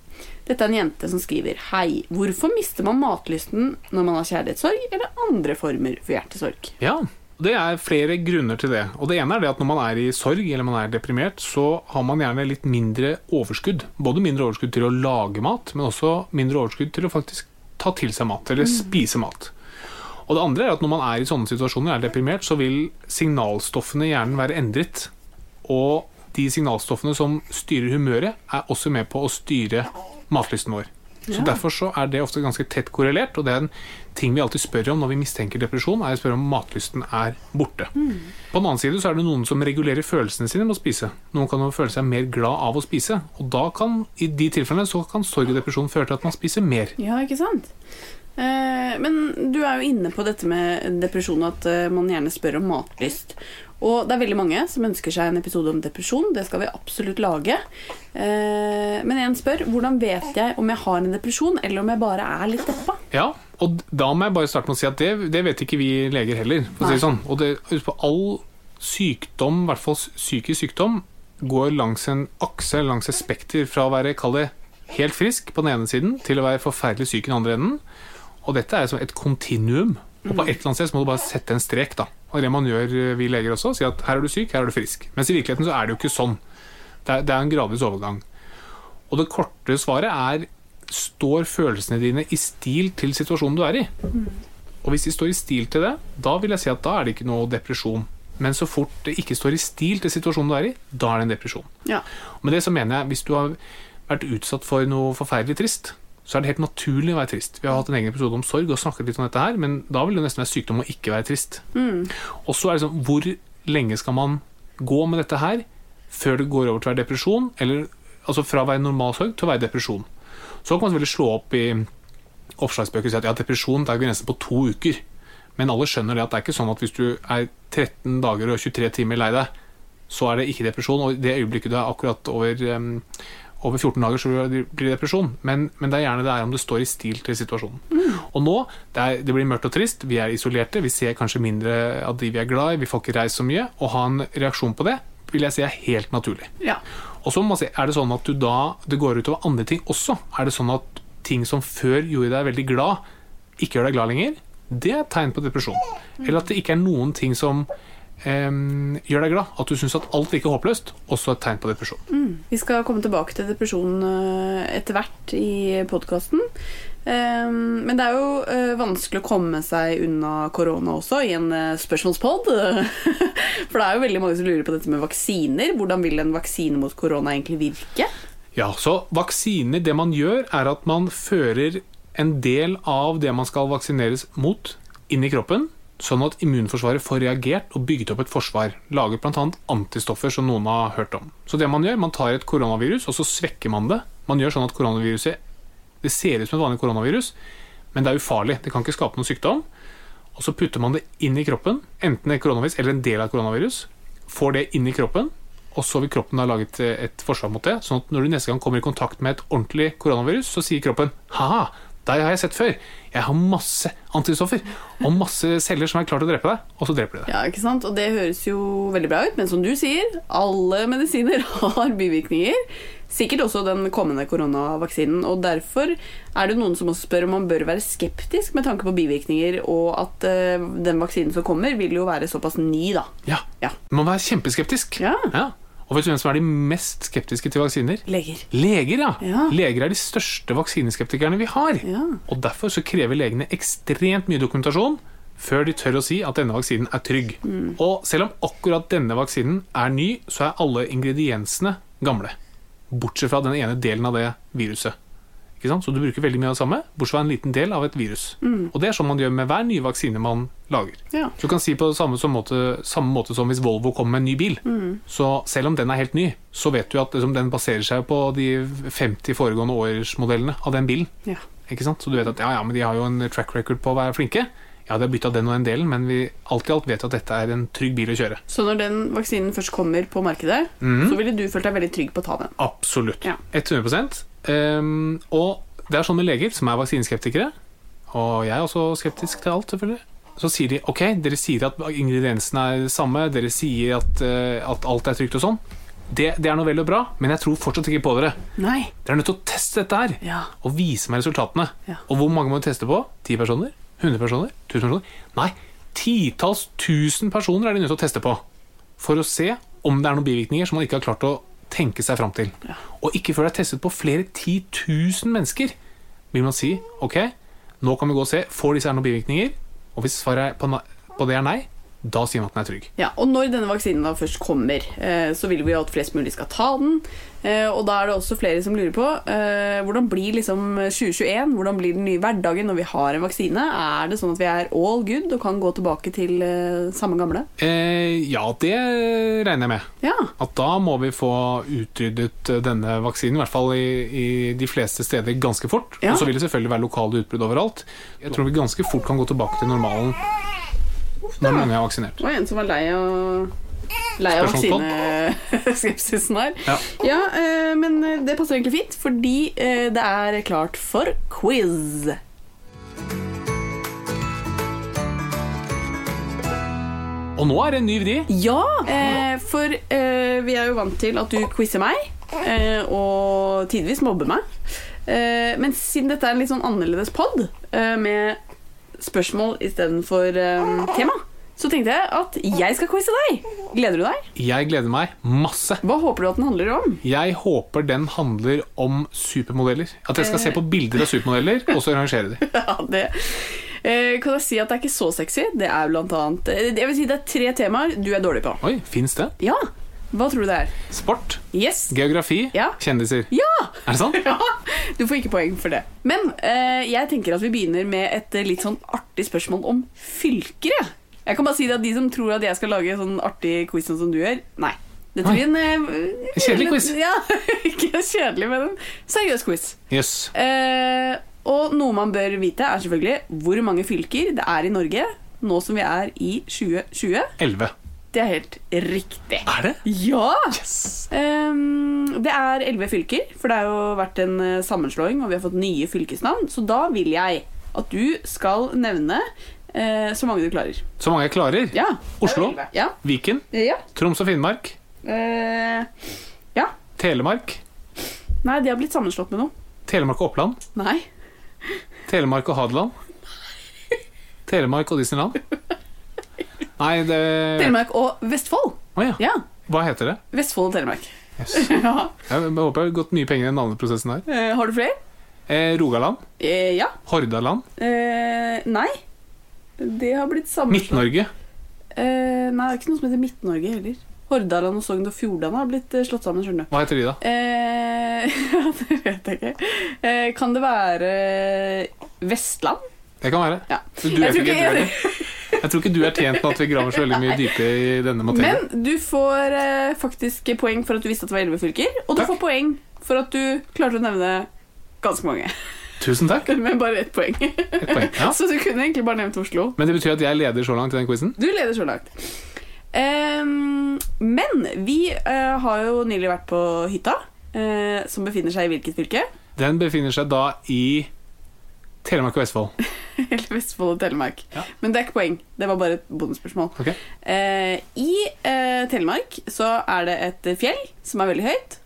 S1: Dette er en jente som skriver Hei, hvorfor mister man matlysten når man har kjærlighetssorg eller andre former for hjertesorg?
S2: Ja, det er flere grunner til det. Og det ene er det at når man er i sorg eller man er deprimert, så har man gjerne litt mindre overskudd. Både mindre overskudd til å lage mat, men også mindre overskudd til å faktisk ta til seg mat, eller spise mat. Og det andre er at når man er i sånne situasjoner, er deprimert, så vil signalstoffene i hjernen være endret. Og de signalstoffene som styrer humøret, er også med på å styre matlysten vår. Så Derfor så er det ofte ganske tett korrelert, og det er en ting vi alltid spør om når vi mistenker depresjon, er å spørre om matlysten er borte. På den annen side så er det noen som regulerer følelsene sine med å spise. Noen kan jo føle seg mer glad av å spise, og da kan, i de tilfellene så kan sorg og depresjon føre til at man spiser mer.
S1: Ja, ikke sant? Eh, men du er jo inne på dette med depresjon, at eh, man gjerne spør om matlyst. Og det er veldig mange som ønsker seg en episode om depresjon. Det skal vi absolutt lage. Eh, men en spør hvordan vet jeg om jeg har en depresjon, eller om jeg bare er litt deppa?
S2: Ja, og d- da må jeg bare starte med å si at det, det vet ikke vi leger heller. For å si det sånn. Og det, husk på all sykdom, i hvert fall s- psykisk sykdom, går langs en akse, eller langs et spekter, fra å være, kall det, helt frisk på den ene siden, til å være forferdelig syk i den andre enden. Og dette er som et kontinuum. Og på et eller annet sted så må du bare sette en strek, da. Og det man gjør, eh, vi leger også, sier at her er du syk, her er du frisk. Mens i virkeligheten så er det jo ikke sånn. Det er, det er en gradvis overgang. Og det korte svaret er Står følelsene dine i stil til situasjonen du er i? Og hvis de står i stil til det, da vil jeg si at da er det ikke noe depresjon. Men så fort det ikke står i stil til situasjonen du er i, da er det en depresjon.
S1: Ja.
S2: Og med det så mener jeg, hvis du har vært utsatt for noe forferdelig trist, så er det helt naturlig å være trist. Vi har hatt en egen episode om sorg og snakket litt om dette her, men da vil det nesten være sykdom å ikke være trist. Og så er det sånn, hvor lenge skal man gå med dette her før det går over til å være depresjon, eller altså fra å være normal sorg til å være depresjon? Så kan man selvfølgelig slå opp i oppslagsbøker og si at ja, depresjon det er grensen på to uker. Men alle skjønner det at det er ikke sånn at hvis du er 13 dager og 23 timer lei deg, så er det ikke depresjon. Og i det øyeblikket du er akkurat over, em, over 14 dager, så blir det- blir det depresjon. Men, men det er gjerne det er om det står i stil til situasjonen. Og nå, det, er, det blir mørkt og trist, vi er isolerte, vi ser kanskje mindre av de vi er glad i, vi får ikke reist så mye. Å ha en reaksjon på det vil jeg si er helt naturlig.
S1: Ja.
S2: Og så må man si, er det sånn at du da, det går utover andre ting også? Er det sånn at ting som før gjorde deg veldig glad, ikke gjør deg glad lenger? Det er et tegn på depresjon. Eller at det ikke er noen ting som em, gjør deg glad. At du syns at alt virker håpløst, også et tegn på depresjon.
S1: Vi skal komme tilbake til depresjon eh, etter hvert i podkasten. Men det er jo eh, vanskelig å komme seg unna korona også i en eh, spørsmålspod. For det er jo veldig mange som lurer på dette med vaksiner. Hvordan vil en vaksine mot korona egentlig virke?
S2: Ja, så vaksiner, det man gjør, er at man fører en del av det man skal vaksineres mot, inn i kroppen, sånn at immunforsvaret får reagert og bygget opp et forsvar. Laget bl.a. antistoffer, som noen har hørt om. Så det man gjør, man tar et koronavirus, og så svekker man det. Man gjør sånn at koronaviruset Det ser ut som et vanlig koronavirus, men det er ufarlig. Det kan ikke skape noen sykdom. Og så putter man det inn i kroppen, enten et koronavirus eller en del av et koronavirus. Får det inn i kroppen, og så vil kroppen da lage et, et forsvar mot det. Sånn at når du neste gang kommer i kontakt med et ordentlig koronavirus, så sier kroppen ha-ha, deg har jeg sett før. Jeg har masse antistoffer og masse celler som er klare til å drepe deg, og så dreper de deg.
S1: Ja, ikke sant? Og det høres jo veldig bra ut, men som du sier, alle medisiner har bivirkninger. Sikkert også den kommende koronavaksinen. Og derfor er det noen som også spør om man bør være skeptisk med tanke på bivirkninger, og at eh, den vaksinen som kommer, vil jo være såpass ny, da.
S2: Ja.
S1: Ja.
S2: Du må være kjempeskeptisk.
S1: Ja.
S2: Og vet du hvem som er de mest skeptiske til vaksiner?
S1: Leger.
S2: Leger, ja.
S1: Ja.
S2: Leger er de største vaksineskeptikerne vi har.
S1: Ja.
S2: Og derfor så krever legene ekstremt mye dokumentasjon før de tør å si at denne vaksinen er trygg.
S1: Mm.
S2: Og selv om akkurat denne vaksinen er ny, så er alle ingrediensene gamle. Bortsett fra den ene delen av det viruset.
S1: Mm.
S2: Ikke sant? Så du bruker veldig mye av det samme, bortsett fra en liten del av et virus. Og det er sånn man gjør med hver nye vaksine man lager.
S1: Ja.
S2: Så du kan si på samme, som måte, samme måte som hvis Volvo kommer med en ny bil. Så selv om den er helt ny, så vet du at liksom, den baserer seg på de 50 foregående årsmodellene av den bilen.
S1: Ja.
S2: Ikke sant? Så du vet at ja, ja, men de har jo en track record på å være flinke. Ja, de har bytta den og den delen, men vi alt i alt vet at dette er en trygg bil å kjøre.
S1: Så når den vaksinen først kommer på markedet, så ville du følt deg veldig trygg på å ta den.
S2: Absolutt.
S1: Ja.
S2: 100 Ehm, Og det er sånn med leger som er vaksineskeptikere, og jeg er også skeptisk til alt, selvfølgelig, så sier de ok, dere sier at ingrediensene er det samme, dere sier at, eh, at alt er trygt og sånn. Det, det er noe vel og bra, men jeg tror fortsatt ikke på dere.
S1: Nei.
S2: Dere er nødt til å teste dette her
S1: Ja.
S2: og vise meg resultatene.
S1: Ja.
S2: Og hvor mange må du teste på? 10 personer? 100 personer? 1000 personer? Nei, titalls tusen personer er de nødt til å teste på for å se om det er noen bivirkninger som man ikke har klart å tenke seg fram til. Og ikke før det er testet på flere 10 000 mennesker, vil man si ok, nå kan vi gå og se, får disse her noen bivirkninger? Og hvis svaret er på, nei, på det er nei, da sier man at den er trygg.
S1: Ja, og når denne vaksinen da først kommer, eh, så vil vi jo at flest mulig skal ta den. Eh, Og da er det også flere som lurer på eh, hvordan blir liksom 2021? Hvordan blir den nye hverdagen når vi har en vaksine? Er det sånn at vi er all good og kan gå tilbake til eh, samme gamle?
S2: Eh, ja, det regner jeg med.
S1: Ja.
S2: at da må vi få utryddet eh, denne vaksinen, i hvert fall i, i de fleste steder, ganske fort.
S1: Ja.
S2: Og så vil det selvfølgelig være lokale utbrudd overalt. Jeg tror vi ganske fort kan gå tilbake til normalen når mange er vaksinert.
S1: Det var en som var lei av Lei av
S2: Spørsmålspott.
S1: vaksineskepsisen her.
S2: Ja.
S1: eh, men eh, det passer egentlig fint, fordi eh, det er klart for quiz.
S2: Og nå er det en ny vri.
S1: Ja, eh, for eh, vi er jo vant til at du quizer meg, eh, og tidvis mobber meg. Eh, men siden dette er en litt sånn annerledes pod, eh, med spørsmål istedenfor eh, tema, så tenkte jeg at jeg skal quize deg. Gleder du deg?
S2: Jeg gleder meg masse.
S1: Hva håper du at den handler om?
S2: Jeg håper den handler om supermodeller. At jeg skal se på bilder av supermodeller, og så rangere de.
S1: Ja, det eh, kan jeg si at det er ikke så sexy. Det er blant annet eh, Jeg vil si det er tre temaer du er dårlig på.
S2: Oi, fins det?
S1: Ja, hva tror du det er?
S2: Sport,
S1: Yes.
S2: geografi,
S1: Ja.
S2: kjendiser.
S1: Ja!
S2: Er det sant?
S1: Ja, du får ikke poeng for det. Men eh, jeg tenker at vi begynner med et eh, litt sånn artig spørsmål om fylker. jeg. Jeg kan bare si det at De som tror at jeg skal lage sånn artig quiz sånn som du gjør, nei. Dette blir en eh,
S2: Kjedelig quiz.
S1: Ja, ikke kjedelig, men en seriøs quiz.
S2: Jøss. Yes.
S1: Eh, og noe man bør vite, er selvfølgelig hvor mange fylker det er i Norge nå som vi er i 2020.
S2: 11.
S1: Det er helt riktig.
S2: Er det?
S1: Ja! Ehm, det er elleve fylker, for det har jo vært en eh, sammenslåing, og vi har fått nye fylkesnavn. Så da vil jeg at du skal nevne eh, så mange du klarer.
S2: Så mange jeg klarer.
S1: Ja.
S2: Oslo,
S1: Ja.
S2: Viken,
S1: ja.
S2: Troms og Finnmark,
S1: Eh, ja.
S2: Telemark,
S1: Nei, de har blitt sammenslått med noe.
S2: Telemark og Oppland,
S1: Nei.
S2: Telemark og Hadeland, Telemark og Disneyland. Nei, det
S1: Telemark og Vestfold.
S2: Å ja.
S1: Ja.
S2: Hva heter det?
S1: Vestfold og Telemark.
S2: Yes.
S1: ja.
S2: Jeg håper jeg har gått mye penger i den navneprosessen her.
S1: Eh, har du flere?
S2: Eh, Rogaland,
S1: Eh, ja.
S2: Hordaland,
S1: Eh, nei. Det har blitt sammenslått
S2: Midt-Norge,
S1: Eh, nei, det er ikke noe som heter Midt-Norge heller. Hordaland og Sogn og Fjordane har blitt eh, slått sammen, skjønner du.
S2: hva heter de da?
S1: Eh, ja, det vet jeg ikke. Eh, kan det være eh, Vestland?
S2: Det kan være.
S1: Ja.
S2: Du vet
S1: Jeg tror
S2: ikke,
S1: ikke
S2: du
S1: jeg-
S2: heller. Jeg tror ikke du er tjent med at vi graver så veldig mye dypere i denne materien.
S1: Men du får eh, faktisk poeng for at du visste at det var elleve fylker, og du
S2: Takk.
S1: får poeng for at du klarte å nevne ganske mange.
S2: Tusen takk.
S1: Men bare ett poeng.
S2: Ett poeng. Ja.
S1: Så du kunne egentlig bare nevnt Oslo.
S2: Men det betyr at jeg leder så langt i den quizen.
S1: Du leder så langt. Ehm, men vi eh, har jo nylig vært på hytta, eh, som befinner seg i hvilket fylke?
S2: Den befinner seg da i Telemark og Vestfold.
S1: Eller Vestfold og Telemark.
S2: Ja.
S1: Men det er ikke poeng. Det var bare et bonusspørsmål.
S2: Ok.
S1: Eh, I eh, Telemark så er det et fjell som er veldig høyt,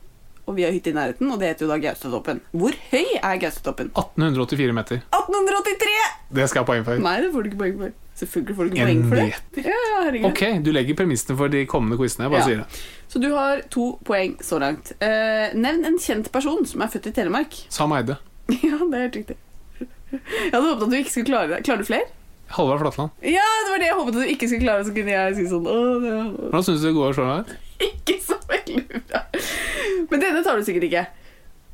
S1: og vi har hytte i nærheten, og det heter jo da Gaustatoppen. Hvor høy er Gaustatoppen?
S2: 1884 meter.
S1: 1883!
S2: Det skal jeg ha poeng for.
S1: Nei, det får du ikke poeng for. Selvfølgelig får du ikke
S2: En
S1: poeng for det.
S2: meter.
S1: Ja, ja, herregud.
S2: Ok, du legger premissene for de kommende quizene. Jeg bare
S1: Ja.
S2: sier det.
S1: Så du har to poeng så langt. Eh, nevn en kjent person som er født i Telemark.
S2: Sam Eide.
S1: ja, det er helt riktig. Jeg hadde håpet at du ikke skulle klare det. Klarer du flere?
S2: Halvard Flatland.
S1: Ja, det var det jeg håpet at du ikke skulle klare, så kunne jeg si sånn Åh, det er
S2: Hvordan syns du det går så langt?
S1: Ikke så veldig bra. Men denne tar du sikkert ikke.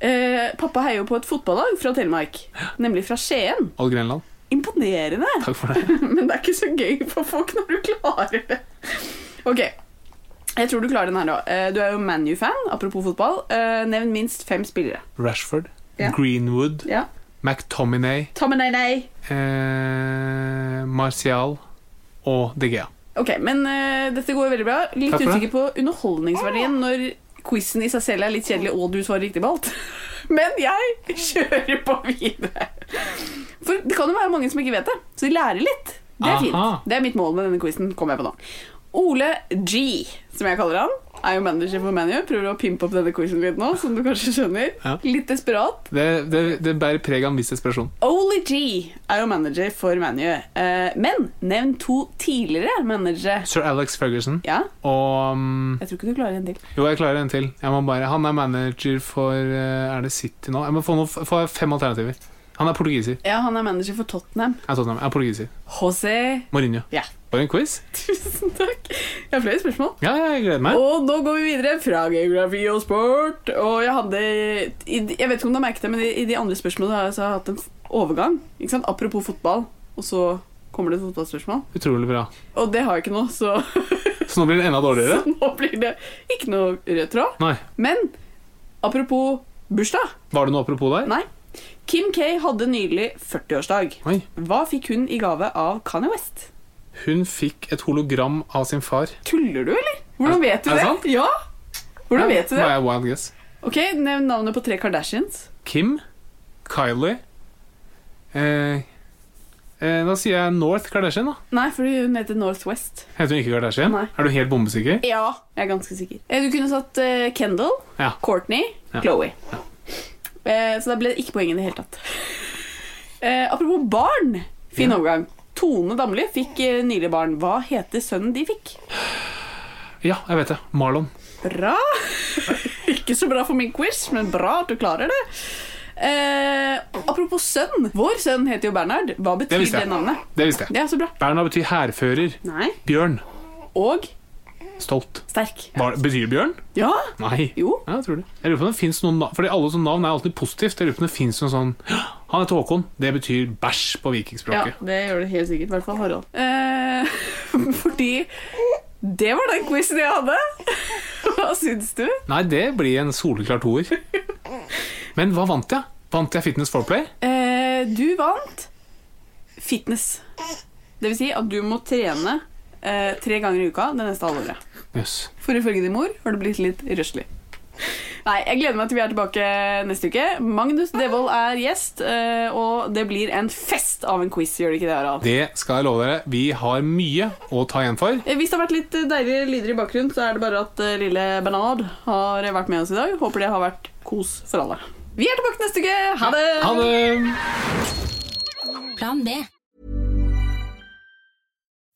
S1: Eh, pappa heier jo på et fotballag fra Telemark, nemlig fra Skien.
S2: Odd Grenland.
S1: Imponerende!
S2: Takk for det.
S1: Men det er ikke så gøy for folk når du klarer det. Ok, jeg tror du klarer den her da. Eh, Du er jo ManU-fan, apropos fotball. Eh, Nevn minst fem spillere.
S2: Rashford,
S1: Ja.
S2: Greenwood,
S1: Ja.
S2: McTominay,
S1: Tominay-nay.
S2: eh, Martial og De Gea.
S1: Ok, men eh, dette går veldig bra. Litt
S2: Takk for
S1: usikker på underholdningsverdien når quizen i seg selv er litt kjedelig og du svarer riktig på alt. Men jeg kjører på videre. For det kan jo være mange som ikke vet det, så de lærer litt. Det er
S2: Aha.
S1: fint. Det er mitt mål med denne quizen. Kommer jeg på nå. Ole G, som jeg kaller han, er jo manager for ManU. Prøver å pimpe opp denne quizen litt nå, som du kanskje skjønner.
S2: Ja.
S1: Litt desperat.
S2: Det, det, det bærer preg av en viss desperasjon.
S1: Ole G er jo manager for ManU. Eh, men nevn to tidligere managere.
S2: Sir Alex Ferguson
S1: Ja,
S2: og um,
S1: jeg tror ikke du klarer en til.
S2: Jo, jeg klarer en til. Jeg må bare, han er manager for eh, Er det City nå? Jeg må få, noe, få fem alternativer. Han er portugiser.
S1: Ja, Han er manager for Tottenham.
S2: Jeg er Tottenham. Jeg er portugiser.
S1: José
S2: Mourinho.
S1: Ja,
S2: Var det en quiz?
S1: tusen takk. Jeg har flere spørsmål.
S2: Ja, ja, jeg gleder meg.
S1: Og nå går vi videre fra geografi og sport. Og jeg hadde i, Jeg vet ikke om du har merket det, men i, i de andre spørsmålene har jeg altså hatt en f- overgang. Ikke sant? Apropos fotball, og så kommer det et fotballspørsmål.
S2: Utrolig bra.
S1: Og det har jeg ikke nå, så
S2: Så nå blir det enda dårligere?
S1: nå blir det ikke noe rød tråd.
S2: Nei.
S1: Men apropos bursdag.
S2: Var det noe apropos der?
S1: Nei. Kim K hadde nylig 40-årsdag.
S2: Oi.
S1: Hva fikk hun i gave av Kanye West?
S2: Hun fikk et hologram av sin far.
S1: Tuller du, eller? Hvordan vet du det?
S2: er det sant?
S1: Ja. Hvordan vet du det?
S2: Var jeg wild guess?
S1: Ok, Nevn navnet på tre Kardashians.
S2: Kim, Kylie eh, eh, Da sier jeg North Kardashian, da.
S1: Nei, fordi hun heter Northwest.
S2: Heter hun ikke Kardashian?
S1: Nei.
S2: Er du helt bombesikker?
S1: Ja. Jeg er ganske sikker. Eh, Du kunne satt eh, Kendall,
S2: Ja.
S1: Courtney,
S2: Ja.
S1: Chloé. Eh, Så da ble det ikke poeng i det hele tatt. Eh, Apropos barn. Fin overgang. Tone Damli fikk eh, nylig barn. Hva heter sønnen de fikk?
S2: Ja, jeg vet det. Marlon.
S1: Bra. Ikke så bra for min quiz, men bra at du klarer det. Eh, apropos sønn. Vår sønn heter jo Bernhard. Hva
S2: Det
S1: betyr det,
S2: visste jeg.
S1: navnet?
S2: Det visste jeg.
S1: Ja, så bra.
S2: Berna betyr hærfører.
S1: Nei.
S2: Bjørn.
S1: Og
S2: Stolt.
S1: sterk.
S2: Var, betyr bjørn?
S1: Ja.
S2: Nei.
S1: Jo.
S2: Ja, jeg tror det. Jeg lurer på om det finnes noen navn Fordi alle sånne navn er alltid positivt. Jeg lurer på om det finnes noen sånn Han heter Håkon. Det betyr bæsj på
S1: ja.
S2: vikingspråket.
S1: Det gjør det helt sikkert. I hvert fall Harald. Eh, fordi det var den quizen jeg hadde. Hva syns du?
S2: Nei, det blir en soleklar toer. Men hva vant jeg? Vant jeg Fitness Foreplay?
S1: Eh, du vant fitness. Det vil si at du må trene eh, tre ganger i uka det neste halvåret.
S2: Jøss.
S1: For ifølge din mor har det blitt litt røslig. Nei, Jeg gleder meg til vi er tilbake neste uke. Magnus Devold er gjest, eh, og det blir en fest av en quiz, gjør det ikke det, Harald?
S2: Det skal jeg love dere. Vi har mye å ta igjen for.
S1: Eh, Hvis det har vært litt eh, deilige lyder i bakgrunnen, så er det bare at eh, lille Bernard har vært med oss i dag. Håper det har vært kos for alle. Vi er tilbake neste uke. Ha det!
S2: Ha det!
S5: Plan B.